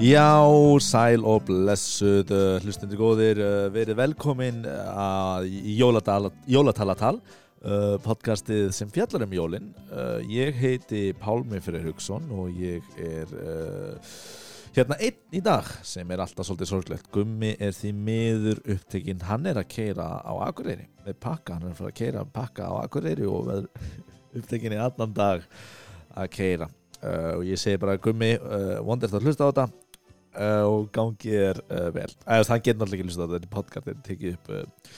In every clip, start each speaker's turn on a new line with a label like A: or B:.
A: Já, sæl og blessuð uh, hlustendur góðir, uh, verið velkomin að í jóladala- Jólatalatal uh, podcastið sem fjallar um jólin uh, Ég heiti Pálmi Freyr Hugson og ég er uh, hérna einn í dag sem er alltaf svolítið sorglegt Gummi er því miður upptekinn, hann er að keira á Akureyri með pakka, hann er að fara að keira pakka á Akureyri og er upptekinn í allan dag að keira Uh, og ég segi bara Gummi, uh, vondir að hlusta á þetta uh, og gangi er uh, vel eða það getur náttúrulega ekki hlustað á þetta þetta podcast er tekið upp uh,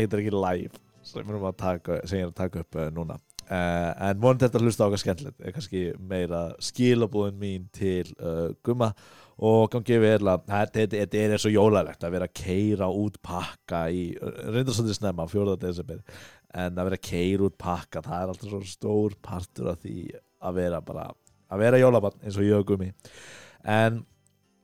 A: eitthvað ekki live sem við erum að taka, sem ég er að taka upp uh, núna uh, en vonið þetta hlusta á okkar skemmtilegt er kannski meira skilabúðin mín til uh, gumma og gangi vel að þetta- þetta þetta er svo jólalegt að vera að keira út pakka í, reynda svolítið snemma 4. desember, en að vera að keira út pakka, það er alltaf svo stór partur af því að vera bara að vera jólabann eins og ég og gummi en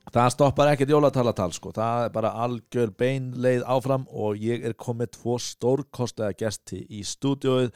A: Það stoppar ekkert jólatalatal sko, það er bara algjör beinleið áfram og ég er komið tvo stórkostlega gesti í stúdióið.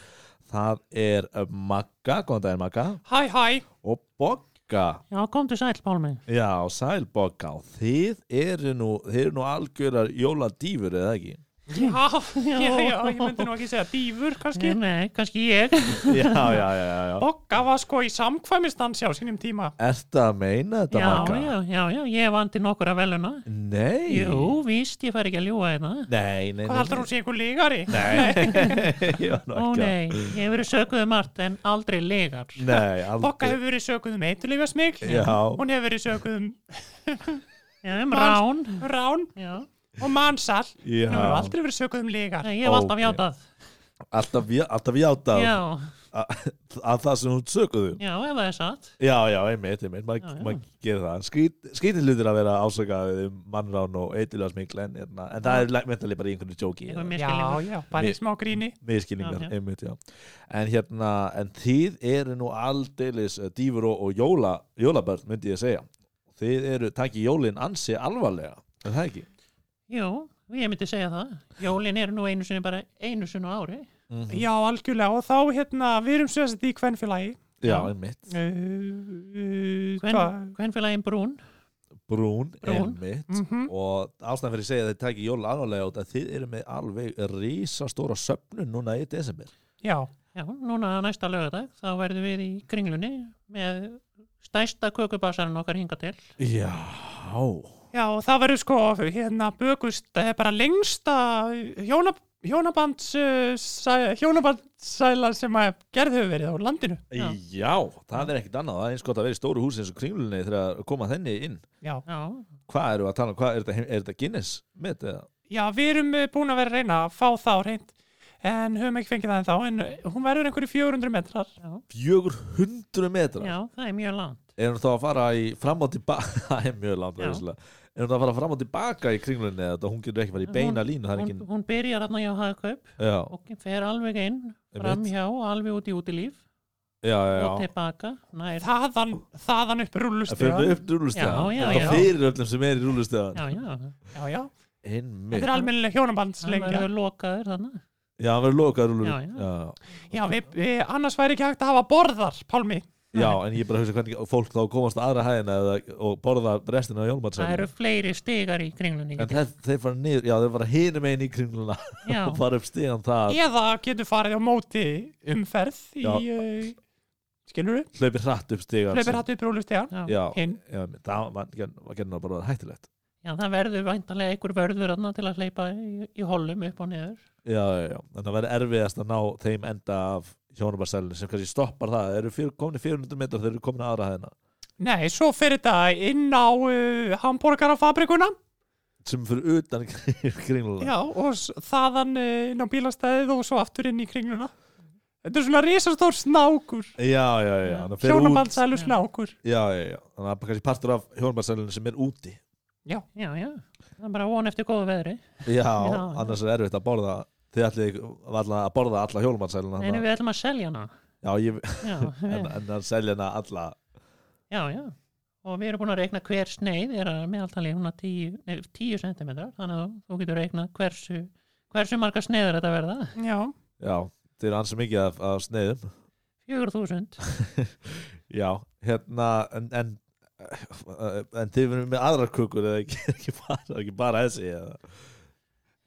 A: Það er eh, Magga, góðan daginn Magga,
B: Hæ, hæ.
A: og Bogga.
B: Já, komdu sæl, Pálmi.
A: Já, sæl Bogga, og þið eru nú, þið eru nú algjörar jóladýfur eða ekki?
B: Já,
C: já, já, ég myndi nú ekki segja dýfur kannski.
B: Nei, nei, kannski ég.
A: Já, já, já, já. já.
C: Bogga var sko í samkvæmistans á sínum tíma.
A: Ertu að meina þetta
B: já,
A: Magga?
B: já, já, já, ég vandi nokkur að veluna.
A: Nei.
B: Jú, víst, ég fær ekki að hérna. ljúa þetta.
A: Nei, nei, nei.
C: Hvað heldur hún sé einhver lígari?
A: Nei, ég var nú
B: Ó
A: ekki að.
B: nei, ég hef verið sökuð um allt en aldrei legar.
A: Nei, aldrei.
C: Bogga hefur verið sökuð um eiturlífa smikl.
A: Já.
C: Hún hefur verið sökuð um
B: Já, um rán.
C: rán
B: Já,
C: og mansal.
A: Já.
C: Hún hefur aldrei verið sökuð um lígar.
B: nei, ég hef alltaf
A: Ókei.
B: játað.
A: Alltaf, já- alltaf játað
B: Já,
A: að að það sem hún sökuðu.
B: já, ef það er satt.
A: Já, já, einmitt, einmitt, maður
B: Já, já.
A: mað gerir það Skrít- Skrítið hlutir að vera ásakaðið um mannrán og eitthvað smikl en, en, en það er meðtalið bara í einhverju jóki
B: Eitthvað
C: Já,
B: misskilningur.
C: já, bara í
A: Mér-
C: smá gríni.
A: miskilningar,
B: Já, já.
A: einmitt, já En hérna, en þið eru nú aldeilis eh, dýfur og, og jóla, jólabörn myndi ég segja Þið eru, takki jólin ansi alvarlega Er það ekki?
B: Jú, ég myndi segja það. Jólin eru nú einu sinni bara einu sinni á ári.
C: Já, algjörlega. Og þá, hérna, við erum svo þetta í kvenfélagi.
A: Já,
B: Já.
A: einmitt,
C: Uh, uh, hvað?
B: Hvern, hvern félagin brún?
A: brún,
B: Brún.
A: einmitt
C: Mhm.
A: og ástæðan fyrir að segja að þið takki jólin alvarlega út að þið eru með alveg risastóra söfnun núna í desember
C: Já,
B: Já, núna næsta lögadag þá verðum við í kringlunni með stæsta kökubasarinn okkar hinga til.
A: Já
C: já, og það verður sko, hérna, bökust, það er bara lengsta hjónab hjónabands, uh, sæ- hjónabandsæla sem að gerð hefur verið á landinu.
A: Já.
B: Já.
A: það er ekkert annað, það er eins gott að vera í stóru húsi eins og kringlunni þegar að koma þenni inn
C: Já,
B: Já,
A: Hvað eru að tala um, hvað er þetta, heim- er þetta Guinness með þetta?
C: já við erum uh, búin að vera að reyna að fá þá reynd, en höfum ekki fengið það en þá, en uh, hún verður einhverju 400 metrar.
B: já,
A: 400 metrar
B: já, það er mjög langt.
A: Er hún þá að fara í fram og tilbaka Það er mjög langt,
B: Já.
A: veðislega Er hún þá að fara fram og tilbaka í kringlunni eða þetta, hún getur ekki farið í beina línu Það er
B: Hún,
A: ekki,
B: hún byrjar þarna hjá hagkaup
A: já,
B: og fer alveg inn, fram hjá, alveg út í útilíf
A: já,
B: og
A: já, já.
B: tilbaka, nær.
C: Þaðan, þaðan upp
A: Það fyrir
C: rúllustiga.
A: upp til rúlustegan
B: Já, já, já.
A: Það fyrir öllum sem er í rúlustegan
B: Já, já,
C: Já, já, þetta
A: Einmitt,
C: er almennileg
B: hann
C: hjónabandslengja.
B: verður lokaður þannig.
A: já, hann verður lokað rúlur
B: Já, já.
C: Já, við, við, annars væri ekki hægt að hafa borðar, Pálmi.
A: já, en ég bara hugsa hvernig fólk þá komast á aðra hæðina eða, og borða restina á
B: Það
A: jólmatsæðinu
B: eru fleiri stigar í kringlunni.
A: En þeir, þeir fara niður, já þeir fara hinum einn í kringluna
B: Já,
A: og fara upp stíðan það
C: Eða getur farið á móti umferð í,
A: Já.
C: uh, skilur við,
A: hlaupir hratt upp stíðan
C: hlaupir hattu upp rúlustegan.
B: já,
A: Já,
C: Hinn,
A: já einmitt, það var var gerðin að bara hættilegt
B: já, það verður væntanlega einhver vörður þarna til að hleypa í, í hollum upp og niður.
A: Já, já, já, en það verður erfiðast að ná þeim enda af hjónabarsælinu sem kannski stoppar það Þeir eru fyrir, komin 400 metrar, þeir eru komin að aðra hæðina
C: nei, svo fyrir þetta inn á uh, hambúrgarafabrikuna
A: sem fyrir utan kringluna
C: já, og s- þaðan uh, inn á bílastæðið og svo aftur inn í kringluna. Þetta er svona risastór snákur,
A: já, já, já, þannig að fer út-
C: hjónabandsælu
B: Já.
C: snákur.
A: Já, já, já, þannig að kannski partur af hjónabarsælinu sem er úti
B: Já, já, það er bara von eftir góðu veðri.
A: Já,
B: já.
A: annars er erfitt að borða Þið ætlið varla að borða alla hjónabarsælina
B: Nei, nei, við ætlum að selja hana.
A: Já, ég,
B: Já,
A: en,
B: við,
A: en að selja hana alla
B: já, já. Og við erum búin að reikna hver sneið er að meðaltali hún að 10 10 cm, þannig að þú getur reikna hversu, hversu marga sneiðar þetta verða.
C: Já,
A: Já, þeir eru ansi mikið af, af sneiðum
B: 4000.
A: Já, hérna en, en uh, en þið verðum með aðrar kökur eða ekki, ekki, bara, ekki bara þessi eða.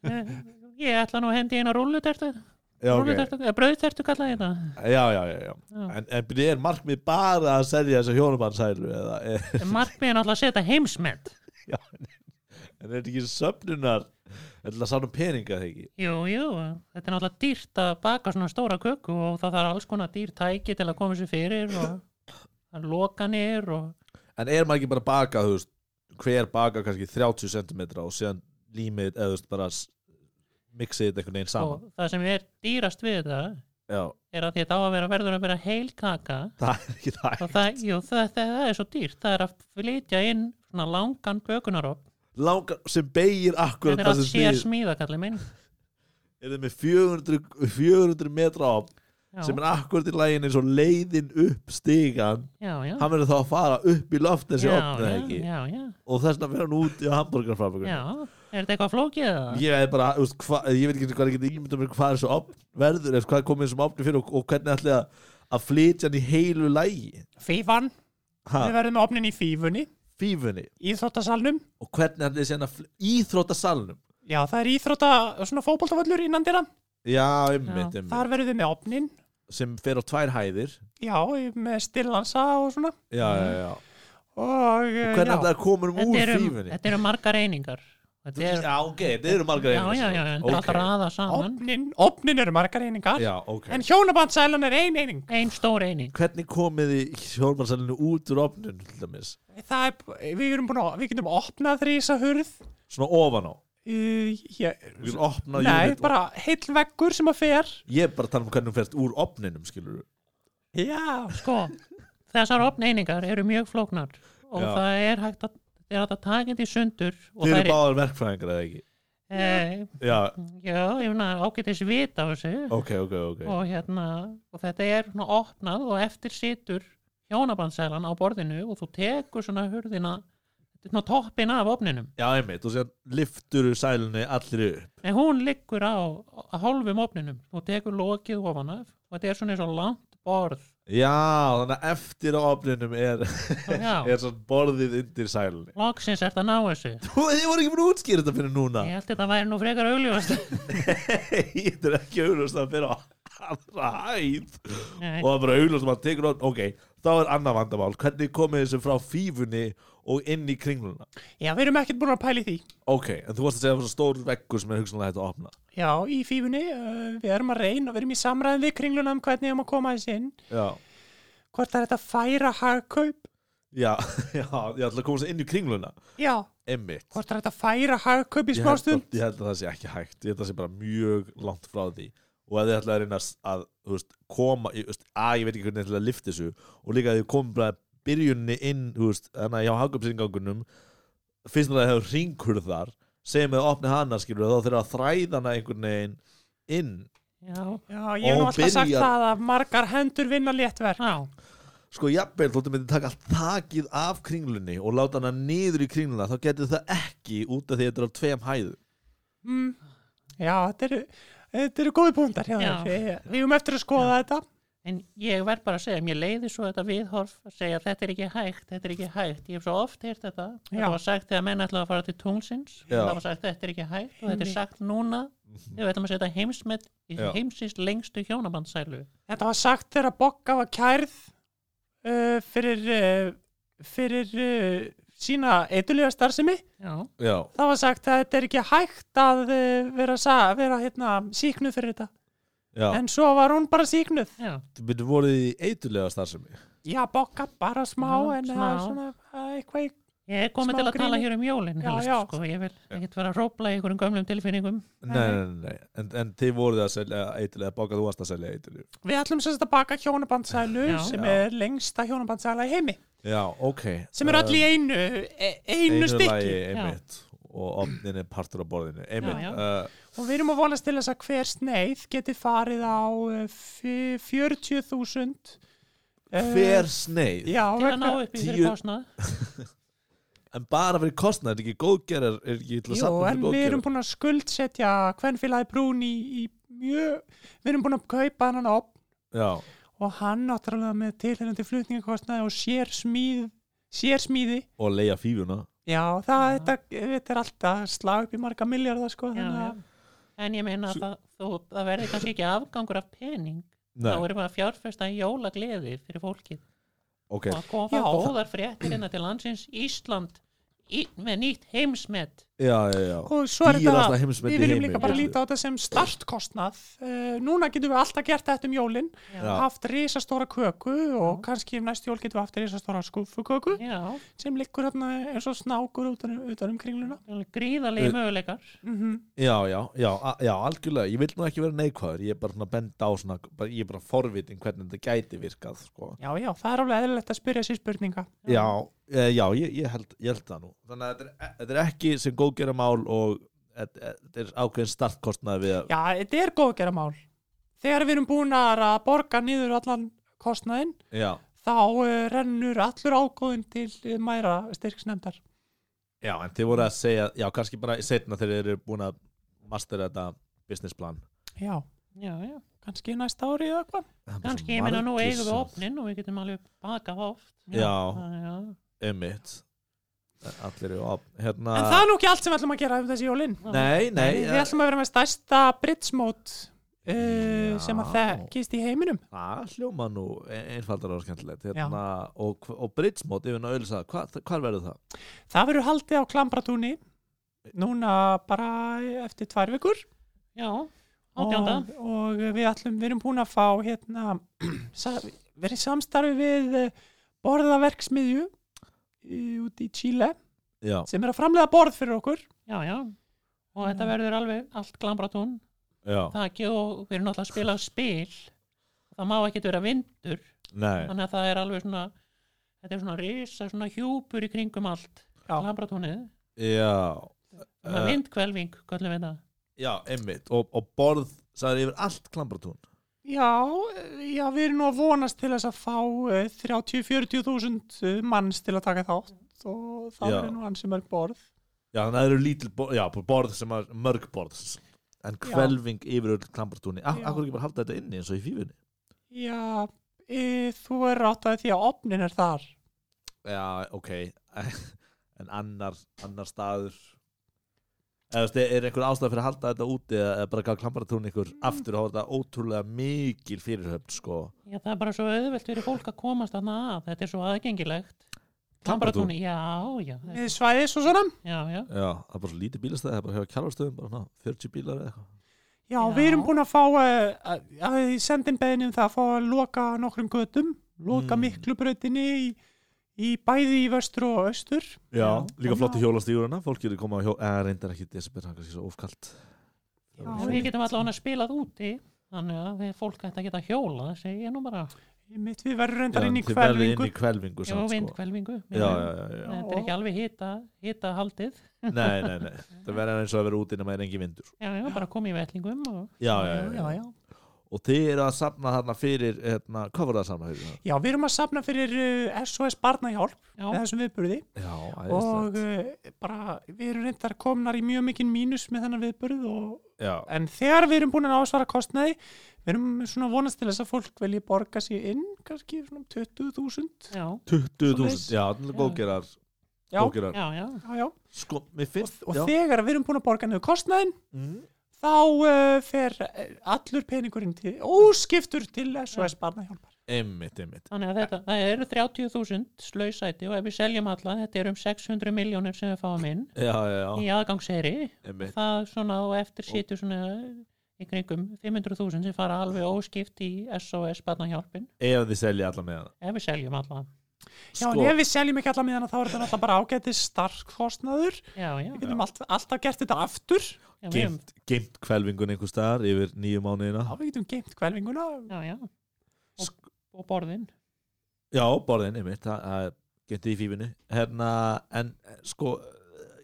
B: Eh, Ég ætla nú að hendi eina rúllutertu
A: já, ok,
B: Rúllutertu, eða brauðtertu kallaði ég þetta
A: já, já, já, já.
B: Já.
A: en, en byrja er markmið bara að selja þessa hjónabannsælu eða er,
B: En Markmiðið er náttúrulega að setja heimsmynd
A: já, en en er þetta ekki söfnunar eða sannum peninga þegar ekki
B: Jú, jú, þetta er náttúrulega dýrt að baka svona stóra köku og það þarf alls konar dýr tæki til að koma sér fyrir og það er lokanir og
A: en er maður ekki bara að baka þú veist, hver baka kannski 30 cm og síðan límið eða þú veist, bara s- mixið þetta einhvern veginn saman
B: og það sem er dýrast við þetta
A: já,
B: er að þetta á að vera verður að vera heil kaka
A: það er ekki það
B: og það, jú, það, það, það er svo dýrt það er að flytja inn svona langan bökunarofn
A: Langar, sem beigir akkurat það
B: þetta er að
A: sem
B: sér
A: snýr
B: smíða kallið minn
A: er það með 400, 400 metra á
B: já,
A: sem er akkurat í lægin eins og leiðin upp stigan
B: já, já,
A: hann verður þá að fara upp í loft þessi
B: já,
A: opnið
B: já,
A: ekki
B: já, já,
A: og þess vegna verður hann úti á hambúrgarframökun
B: já er þetta eitthvað flókið eða?
A: ég er bara, þú veist, hva, ég veit ekki hvað ég get ímynda mér hvað er svo opn verður eða hvað er komið sem opnið fyrir og, og hvernig ætli að, að flytja hann í heilu lægi
C: Fífan,
A: ha,
C: við verðum með opnin í fífunni,
A: fífunni
C: íþróttasalnum
A: og hvernig ætli þessi hann að fl- íþróttasalnum
C: Já, það er íþrótta, svona fótboltavöllur innan dýra
A: já, einmitt, einmitt
C: Þar verðum við með opnin
A: sem fer á tvær hæðir
C: Já, með stillansa og svona
A: já, já, já
C: Og, eh,
A: hvernig
C: já.
A: ætli að koma um úr
B: Mm. þetta eru,
A: fífunni
B: þetta eru margar einingar þetta er,
A: já, ok, þetta eru margar
B: já,
A: einingar,
B: já, já, þetta er
A: ok.
B: alltaf raða saman
C: Opnin, opnin eru margar einingar
A: já, ok
C: En hjónabandsælan er ein eining
B: ein stór eining
A: hvernig komið þið hjálmarsalinu út úr opnun til dæmis?
C: Það er, við erum búin að, við getum opnað þrísa hurð
A: Svona ofan á
C: uh, ég,
A: Við erum opnað
C: Nei,
A: unit og-
C: bara heill veggur sem að fer
A: Ég er bara að tala um hvernig hún fyrst úr opninum skilur
C: Já,
B: sko, þessar opn einingar eru mjög flóknar og
A: Já.
B: það er hægt að það er hægt að taka þetta í sundur og
A: Þið
B: það
A: eru
B: er,
A: báðar verkfræðingar eða ekki
B: eh,
A: Já,
B: já, ég meina ágætis vit á þessu
A: ok, ok, ok
B: og hérna, og þetta er svona opnað og eftir situr hjónabandsælan á borðinu og þú tekur svona hurðina, þetta er svona toppin af opninum,
A: Já, einmitt, og sér liftur sælunni allir upp
B: en hún liggur á, á hálfum opninum, þú tekur lokið ofan af og þetta er svona eins og langt borð,
A: Já, þannig að eftir á opninum er,
B: og já
A: er svona borðið undir sælunni
B: loksins er þetta ná þessu
A: Þú, Þið voru ekki búin að útskýra þetta fyrir núna
B: ég held þetta væri nú frekar augljóðast
A: Þetta er ekki auglust að fyrir á aðra hæð
B: Nei.
A: og það er bara auglust að maður tekur opn ok, þá er annað vandamál hvernig komið þessu frá fífunni og inn í kringluna
C: já, við erum ekkert búin að pæla í því
A: ok, en þú varst að segja að það var svo stór veggur sem er hugsanlega hægt að opna
C: Já, í fífunni, uh, við erum að reyna við erum í samræðin við kringluna um hvernig við erum að koma þessi inn
A: já,
C: Hvort það er þetta að færa hagkaup
A: já, já, ég ætla að koma þessu inn í kringluna
C: Já,
A: emmitt
C: hvort það er þetta að færa hagkaup í
A: ég held,
C: smástund
A: að, ég held að það sé ekki hægt ég held að það sé bara mjög langt frá því og að þið ætla að reyna að, að þú veist, koma, ég, þú veist, að ég veit ekki hvernig þið ætla að lifta þessu og líka að þið komum bara byrjunni inn, þú veist, þannig að hjá hagkjöpsingangunum finnst mér að það hefur ringkurðar sem eða opni hana skilur þá þurfa að þræða hana einhvern veginn inn,
B: já,
C: Já, ég hef
A: Og
C: nú alltaf sagt
A: byrjar-
C: það að margar hendur vinna léttverk
B: já,
A: sko jafnvel þóttu myndi taka allt takið af kringlunni og láta hana niður í kringluna þá getur það ekki út af því að þetta er af tveim hæðu
C: mm. Já, þetta eru, þetta eru góði púntar hjá
B: Já.
C: þér Við við höfum eftir að skoða þetta
B: En ég verð bara að segja, mér leiði svo þetta viðhorf að segja þetta er ekki hægt, þetta er ekki hægt. Ég hef svo oft heyrt þetta.
C: Já.
B: Þetta var sagt þegar menn ætlaði að fara til tunglsins.
A: Já. Mhm.
B: Það var sagt þetta er ekki hægt og þetta er sagt núna þegar við ætlum að setja heimsmet í
A: Já.
B: heimsins lengstu hjónabandsælu.
C: Þetta var sagt þegar að bokka var kærð uh, fyrir, uh, fyrir uh, sína eitulega starfsemi
B: Já,
A: já,
C: Það var sagt að þetta er ekki hægt að uh, vera, sa, vera hérna, síknuð fyrir þetta
A: já,
C: En svo var hún bara síknuð
B: já,
A: þú myndir voruð í eitulega starfsemi
C: Já, bokka bara smá
B: Já,
C: en
B: smá.
C: það er svona uh, eitthvað í
B: ég er komin
C: Smá
B: til að tala
C: gríni.
B: hér um jólinn.
C: Já,
B: helst,
C: já.
B: Sko, ég vil ekkert vera að rópla í einhverjum gömlum tilfinningum.
A: Nei, nei, nei, nei. En, en þið voruð að selja eitulega baka, þú varst að selja eitulega
C: Við ætlum sérst að baka hjónabandsælu
B: Já.
C: sem
A: Já.
C: er lengsta hjónabandsæla í heimi
A: Já, ok Eh,
C: sem er öll í einu, e einu, stykki
A: lagi, einmitt og opnin er partur á borðinu einmitt,
B: Já,
C: og við erum að vonast til þess að hver sneið geti farið á eh, fjö- 40.000
A: Uh,
C: eh,
A: hver sneið
C: Já,
B: Til að ná
C: vegna,
B: upp í fyrir
A: tíu-
B: kostnað.
A: en bara fyrir kostnað, er ekki góðgerar er ekki illa
C: jú,
A: safna
C: en
A: fyrir
C: við erum
A: góðgerar
C: búin að skuldsetja hvern félagi brún í, í mjög, við erum búin að kaupa hann op
A: já,
C: og hann náttúrulega með tilhengjandi flutningakostnaði og sér smíð sérsmíði
A: og leia fífuna
C: Já, það, þetta, þetta er alltaf slag upp í marga miljardar sko,
B: já,
C: þannig
B: já.
C: að
B: en ég meina að það, þú, það verði kannski ekki afgangur af pening þá erum við að fjárfesta í jólagleði fyrir fólkið
A: ok,
B: og að koma
C: Já.
B: góðar fréttir innan til landsins Ísland í, með nýtt heimsmet
A: já, já, já
C: og svo er
A: Dýrasta
C: þetta,
A: heimsmet
C: við
A: í
C: viljum
A: heimi,
C: líka bara
A: veistu.
C: líta á þetta sem startkostnað uh, núna getum við alltaf gert þetta um jólin
A: Já.
C: haft risastóra köku og kannski um næst jól getum við haft risastóra skúfuköku
B: já,
C: sem liggur hérna eins og snákur utan, utan um kringluna
B: gríðarlega möguleikar
C: mm
A: Já, já, já, a- já, algjörlega Ég vil nú ekki vera neikvæður, ég er bara svona bend á svona, bara, ég er bara forvitin hvernig þetta gæti virkað sko.
C: Já, já, það er alveg eðlilegt að spyrja sér spurninga
A: Já, já, já ég, ég, held, ég held það nú Þannig að þetta er, e, þetta er ekki sem góðgera mál og þetta þetta er ákveðin startkostnað við að
C: Já, þetta er góðgeramál þegar við erum búin að borga niður allan kostnaðinn
A: Já,
C: þá uh, rennur allur ágóðin til uh, mæra styrksnefndar
A: já, en þið voru að segja Já, kannski bara setna þegar þið eru búin að mastera þetta business plan
C: já,
B: já, já.
C: kannski næsta ári eða hvað
A: Það er bara svo
B: kannski ég meina nú
A: margir
B: eigum við
A: sem-
B: opnin og við getum alveg baka oft
A: Já.
B: já, já.
A: Einmitt Allir eru op hérna...
C: en það er nú ekki allt sem við ætlum að gera um þessi jólin
A: Nei, eh, nei
C: við ætlum að vera með stærsta brittsmót uh,
A: Já.
C: sem að þekkist í heiminum
A: Það hljóma nú ein- einfaldar og skemmtilegt hérna,
C: Já.
A: og, og brittsmót yfir náðu öllisað, hvað, hvað verður það?
C: það verður haldið á klambratúni núna bara eftir tvær vikur
B: já, átjánda
C: og, og við ætlum, við erum búin að fá hérna, sa- verið í samstarfi við eh, borðaverksmiðju í- út í Chile
A: Já,
C: sem er að framlega borð fyrir okkur
B: já, já og þetta verður alveg allt glambratún
A: já,
B: það ekki og við erum náttúrulega að spila á spil það má ekki vera vindur
A: nei
B: þannig að það er alveg svona þetta er svona risa, svona hjúpur í kringum allt
C: Já.
B: glambratúnið,
A: Já,
B: svona
A: Eh.
B: vindkvelving kallum við það,
A: já einmitt og, og borð, það er yfir allt klambratún
C: Já, eh, já, við erum nú að vonast til þess að fá eh, 30-40 þúsund eh, manns til að taka þátt og það
A: Já.
C: verður nú ansi mörg borð.
A: Já, þannig að það eru lítil borð, já, borð sem er mörg borð en kvelving yfir öll klambratúni Ak-
C: Já.
A: Akkur ekki bara halda þetta inni eins og í fífunni
C: Já, e, þú er rátt að því að opnin er þar.
A: Já, ok en annar, annar staður eða þú veist, er einhver ástæð fyrir að halda þetta úti eða eða bara gaf klambratún ykkur aftur og hafa þetta ótrúlega mikil fyrirhöfn sko.
B: já það er bara svo auðvelt fyrir fólk að komast þarna að, þetta er svo aðgengilegt
A: Klambratún?
B: glambratúnið, já, já
C: E, svæðis og svona.
B: já, já,
A: Já, það er bara svo lítið bílastæði, það er bara hefur kjálfarstöðum bara, ná, 40 bílar eða eitthvað
C: Já,
B: Já.
C: við erum búin að fá, e, að þið sendin beðin um það að fá að loka nokkrum götum, loka
A: Mm.
C: miklu brautinni í, í bæði í vestur og austur.
A: Já,
C: þannig
A: líka flott í
C: að-
A: hjólastíðurina, fólk eru koma á hjó, eða reyndar ekki í desember, það er kannski svo ofkalt
C: Já,
B: og við getum allavega spilað úti þannig að við fólk ætti að geta hjóla segi ég nú bara,
C: Mitt við verður reyndar inn í
A: þið verðið inn
C: kvelvingu.
A: í kvelvingu
B: já,
A: samt, sko.
B: vindkvelvingu
A: Já, já, já, já,
B: þetta er ekki alveg hita, hita haldið
A: nei, nei, nei Það verður eins og að vera úti nema er engi vindur
B: já, já, bara komið í vetlingum og
A: Já, já, já,
C: já, já.
A: Og þið eru að safna þarna fyrir, hérna, hvað voru það að safna fyrir það?
C: Já, við erum að safna fyrir uh, SOS Barnahjálp
B: já,
C: með þessum viðburði
A: Já,
C: og
A: æðislegt
C: uh, bara við erum reyndar komnar í mjög mikinn mínus með þennan viðburð og,
A: Já,
C: en þegar við erum búin að ásvara kostnaði við erum svona að vonast til þess að fólk velji borga sér inn kannski svona um 20.000
B: já,
A: 20.000,
C: Svoleiðis.
A: já, þannig að góðgerar
C: Já.
A: Góðgerar,
B: já, já
C: já, já.
A: sko, mér
C: og,
A: finnst
C: og
A: já.
C: þegar við erum búin að borga niður kostnaðin
A: Mm.
C: þá uh, fer eh, allur peningurinn til, óskiptur til SOS Barnahjálpar
A: Einmitt, einmitt
B: Þannig að þetta, það eru 30.000 slausæti og ef við seljum alla, þetta eru um 600 miljónir sem við fáum inn
A: Já, já, já,
B: í aðgangseri.
A: einmitt
B: Það svona og eftir situr svona í kringum 500.000 sem fara alveg óskipt í SOS barnahjálpin
A: Ef þið selja alla með hana
B: ef við seljum alla.
C: Já,
A: Sko-
C: en ef við seljum ekki alla miðana þá er þetta náttúrulega bara ágætið starkkostnaður
B: Já, já.
C: við getum allt, alltaf gert þetta aftur
B: já, við höfum-
A: geimt, geimt kvelvingun einhver staðar yfir nýju mánuðina
C: Já, við getum geimt kvelvinguna
B: já, já. Og,
A: Sk-
B: og borðin.
A: já, borðin, einmitt það- það er geimt í fífinu hérna, en eh, sko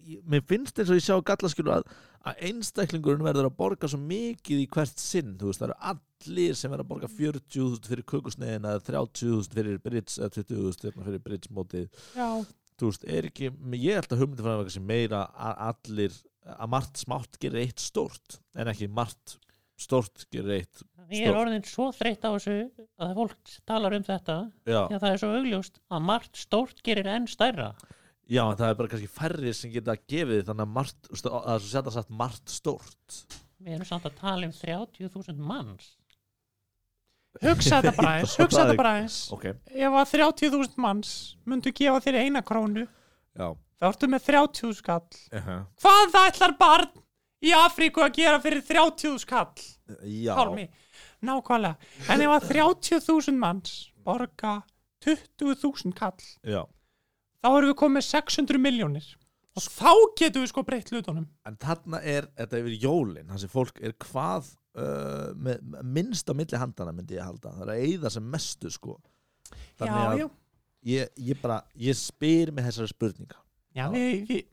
A: ég- mér finnst eins og ég sjá gallaskjölu að, að einstaklingurinn verður að borga svo mikið í hvert sinn, þú veist, það eru allir sem verður að borga 40.000 fyrir kökusneiðina 30.000 fyrir brits eða 20.000 hérna, fyrir britsmótið
C: Já,
A: þú veist, er ekki, ég held að hugmyndi fræðan sem meira að allir, að margt smátt gerir eitt stórt, en ekki margt stórt greitt
B: Ég er
A: Stórt.
B: orðin svo þreytt á þessu að fólk talar um þetta
A: já.
B: því að það er svo augljóst að margt stórt gerir enn stærra
A: já, en það er bara kannski færri sem geta gefið þannig að margt, stó- að það setja satt margt stórt
B: Við erum samt að tala um 30.000 manns
C: hugsa þetta bara eins, hugsa
A: Það er-
C: þetta bara eins
A: ok,
C: ef að 30.000 manns myndu gefa þér eina krónu
A: já
C: þá ertu með 30 skall
A: uh -huh.
C: hvað ætlar barn í Afríku að gera fyrir 30 skall
A: já,
C: Pálmi, nákvæmlega en ef að 30.000 manns borga 20.000 kall
A: já
C: þá erum við komið 600 miljónir og þá getum við sko breytt hlutunum
A: en þarna er, þetta er yfir jólin þannig að fólk er hvað uh, með, með minnst á milli handana myndi ég halda það er að eyða sem mestu sko
C: já,
A: þannig að
C: já,
A: Ég, ég bara, ég spyr með þessari spurninga
C: já við, við,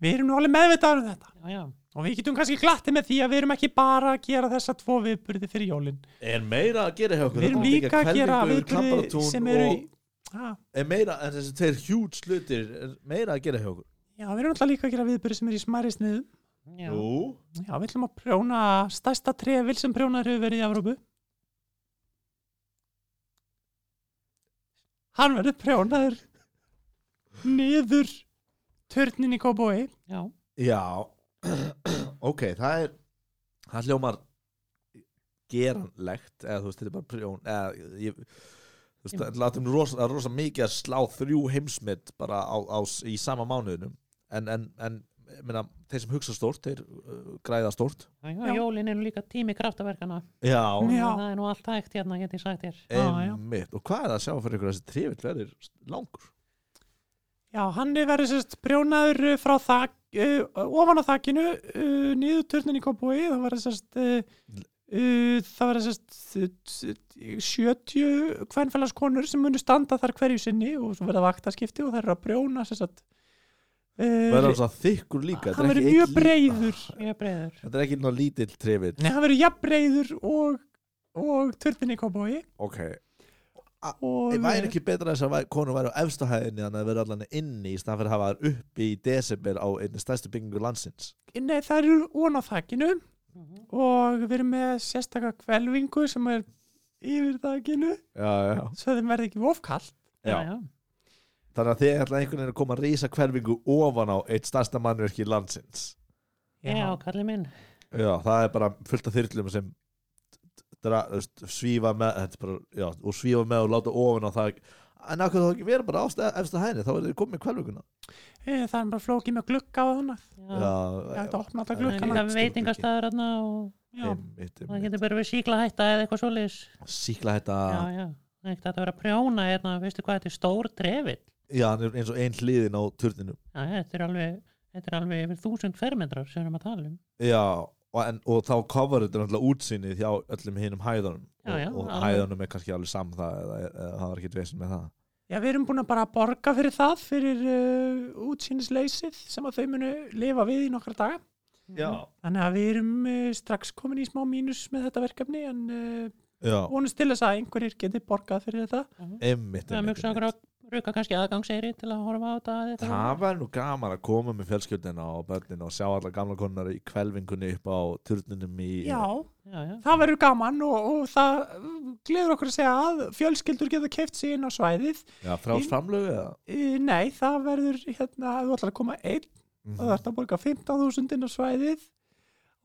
C: við erum nú alveg meðvitaður um þetta
B: Já, já,
C: og við getum kannski glattið með því að við erum ekki bara að gera þessa tvo viðburði fyrir jólin
A: er meira að gera hjá okkur
C: við erum
A: Þetta er
C: líka að gera
A: hvelfingur,
C: viðburði
A: Klambaratún
C: sem eru í,
A: og-
C: ha,
A: er meira, en þessi tveir hjúts hlutir er meira að gera hjá okkur
C: já, við erum alltaf líka að gera viðburði sem eru í smæri sniðum
B: já.
A: Jú,
C: já, við ætlum að prjóna stærsta trefil sem prjónar hefur verið í Evrópu hann verður prjónaður niður törnin í Kóbói
B: já.
A: já ok, það er það hljómar geranlegt, eða þú veist, þetta er bara prjón eða, ég þú veist, það látum rosa, það er rosa mikið að slá þrjú heimsmynd bara á, á, í sama mánuðinum en, en, en ég meina, þeir sem hugsa stórt, þeir uh, græða stórt
B: Já, já,
C: Já.
B: jólin er nú líka tími kraftaverkana
A: já,
C: Já.
B: það er nú allt hægt hérna, get ég sagt þér
C: Já, já.
A: einmitt og hvað er það að sjá fyrir ykkur að þessi trefill verður langur
C: já, hann verður sérst prjónaður uh, frá þak uh, ofan á þakinu uh, niður törnin í Kóbói það verður sérst uh, uh, það verður sérst uh, 70 kvennfælaskonur sem munu standa þar hverju sinni og svo verða vaktaskipti og það eru að prjóna sérst uh,
A: verður það þykkur líka þetta
C: hann
A: er
C: verður
A: ekki
C: mjög
A: einn lít-
C: breiður
B: Ég er breyður
A: þetta er ekki ná lítill trefill
C: Nei, hann verður jafn breiður og, og törnin í kópói
A: ok,
C: og
A: það væri ekki betra þess að væ- konur væri á efstu hæðinni þannig að verður allan inni í staðan fyrir að hafa þær uppi í desember á einni stærstu byggingu landsins
C: eh, Nei, það eru von á þakinu og við erum með sérstaka kvelvingu sem er yfir þakinu
A: já, já,
C: svo þeim verður ekki ofkall
A: já. þannig að þið ætla einhvern veginn að koma að rísa hverfingu ofan á eitt stærsta mannverki landsins
B: já, já kallið minn
A: já, það er bara fullt af þyrlum sem dra, þú veist, svífa með þetta er bara, já, og svífa með og láta ofan á það en akkur þá ekki vera bara á stað- efstu hæðinni þá verður þið komið hverfinguna
C: Eh, það er bara flókið með glugga á þannig
B: Já,
C: Já, þetta opna alltaf
B: það er
C: gluggana
B: líka veitingastæður hérna og
C: Já,
A: Einmitt,
B: það
A: einmitt.
B: getur bara verið síkla hætta eða eitthvað svoleiðis
A: síkla þetta
B: Já,
A: já.
B: já, það er ekkert hægt að vera að prjóna hérna, veistu hvað, þetta er stór trefill
A: hann er eins og ein hliðin á turninu
B: Já, já, þetta er alveg, þetta er alveg yfir þúsund fermetrar sem við erum að tala um
A: já, og, en, og þá kofar þetta náttúrulega útsýnið hjá öllum hinum hæðunum
B: Já, já,
A: og, og
B: alveg.
A: hæðunum er kannski alveg saman það eða, eða, það er ekki dvesin með það
C: já, við erum búin að bara borga fyrir það fyrir uh, útsýnisleysið sem að þau munu lifa við í nokkra daga þannig að við erum uh, strax komin í smá mínus með þetta verkefni en uh,
A: já,
C: vonast til þess að einhverjir geti borgað fyrir þetta
A: einmitt,
B: Við erum
A: einmitt,
B: hugsa okkur
A: einmitt.
B: að ruka kannski aðgangseyri til að horfa á þetta eða eitthvað.
A: það var nú gaman að koma með fjölskyldina og börnin og sjá alla gamla konar í kvelvingunni upp á turninum í
C: Já,
B: Já, já,
C: það verður gaman og, og það gleður okkur að segja að fjölskyldur geta keift sig inn á svæðið
A: já frás framlögu eða
C: Uh, Nei, það verður hérna, ef þú ætlar að koma einn þá
A: Mhm.
C: þarf að borga 15.000 inn á svæðið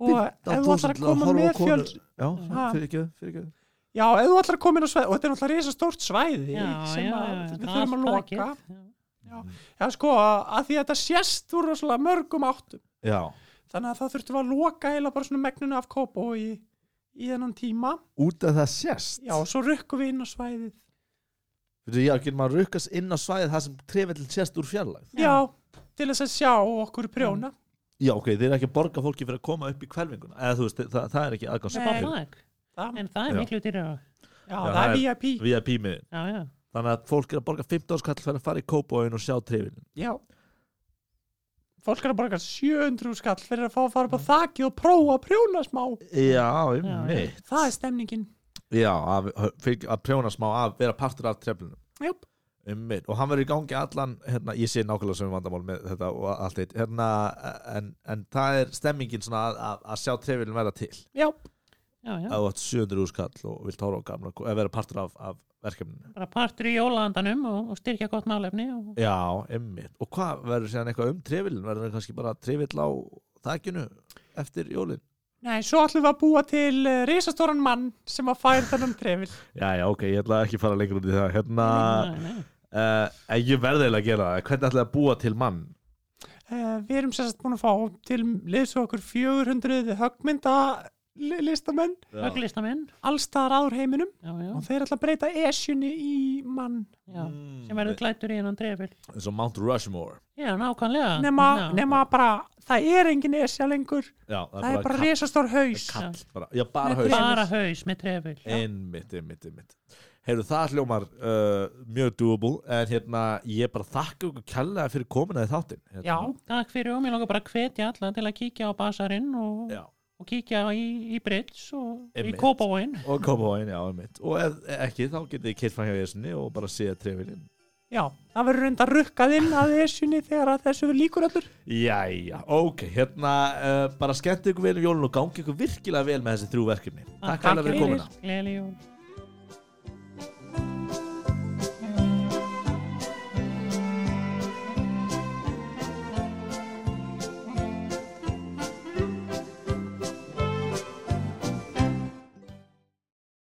C: og ef þú
A: 15.000
C: ætlar að
A: til
C: koma
A: horfa á
C: með
A: konu-
C: fjöls
A: já,
C: Ha.
A: fyrir ekki, fyrir ekki
C: Já, ef þú ætlar að koma inn á svæðið og þetta er náttúrulega risa stórt svæði
B: já,
C: sem
B: já,
C: að
B: já,
C: við
B: það er
C: þurfum að
B: allt
C: loka
B: rakið. Já.
C: Já, sko, að því að þetta sést úr rosalega mörgum áttum
A: já,
C: þannig að það þurftum að loka eila bara svona megnuna af kópa og í, í þennan tíma
A: út af það sést
C: Já, svo rökkum við inn á svæðið
A: Fyrir já, getur maður að rukkast inn á svæðið það sem trefellin sést úr fjarlægð?
B: Já.
C: Já, til þess að sjá okkur prjóna.
A: Já, ok, þeir eru ekki að borga fólki fyrir að koma upp í kvelvinguna eða þú veist, það, það er ekki aðgáms
B: Það er
C: Nei.
B: það,
C: Það,
B: en það
A: Já.
B: er miklu dýrar
C: já,
A: Já,
C: það er VIP.
A: við að pímiðin
B: Já, já,
A: þannig að fólk er að borga 15 skall fyrir að fara í kópóin og sjá trefellin
C: Já. Fólk er að borga 700 skall fyrir að fá að fara upp á þakið og prófa að prjóna smá.
A: Já,
B: einmitt.
C: Það er stemningin.
A: Já, að, fyrir að prjóna smá að vera partur af trefellinu
C: Júp.
A: Einmitt. og hann verður í gangi allan hérna, ég sé nákvæmlega sem vandamál með þetta og allt eitt hérna, en, en það er stemmingin svona að, að, að sjá trefellin verða til
C: Já,
B: já, já,
A: að þú átt 700 úrskall og vilt horfa á gamla eða vera partur af, af verkefninu
B: bara partur í jólaandanum og, og styrkja gott málefni og
A: Já, emmitt. Og hvað verður séðan eitthvað um trefilin? Verður það kannski bara trefill á þakinu eftir jólin?
C: Nei, svo ætlum við að búa til uh, risastóran mann sem að færa þennan trefil.
A: Já, já, ok, ég ætla ekki að fara lengur út í það. Hérna,
B: Nei, nei, nei.
A: uh, ég verði eiginlega að gera það. Hvernig ætla ég að búa til mann?
C: Uh, við erum sérst búin að fá til liðs og okkur 400 höggmynda li- listamenn
B: höglistamenn
C: allstaðar áður heiminum
B: já, já,
C: og þeir ætla að breyta esjunni í mann
B: já, sem
A: Eh,
B: verður klættur í hennan trefil
A: Hmm, Eins og Mount Rushmore.
B: já, nákvæmlega
C: nema,
B: já,
C: nema bara, það er engin esja lengur,
A: Já, það,
C: það er bara risastór haus
B: kall.
A: kall. Bara, já, bara
C: Með
A: haus.
B: bara haus með trefil
A: Eh.
B: já,
A: Einmitt, einmitt, einmitt. Heyrðu, það hljómar uh, mjög doable, en hérna, ég bara þakka ykkur kjallega fyrir komina í þáttinn. Hérna.
C: Já,
B: takk fyrir og mér langar bara að hvetja alla til að kíkja á basarinn og,
A: Já.
B: og kíkja í, í Brits og
A: Einmitt.
B: í Kópavóin
A: Og Kópavóin, já, einmitt. Og ef ekki, þá getið þið keirt fækja í þessinni og bara séð trefilinn.
C: já, það verður reynda rukkað inn að esjunni þegar að þessu líkur öllur
A: Jæja, ok, hérna, uh, bara skemmt ykkur vel um jólun og gangi ykkur virkilega vel með þessi þrjú verkefni. Takk
B: Takk
A: hæglega fyrir
B: fyrir.
A: komuna.
B: gleðileg jól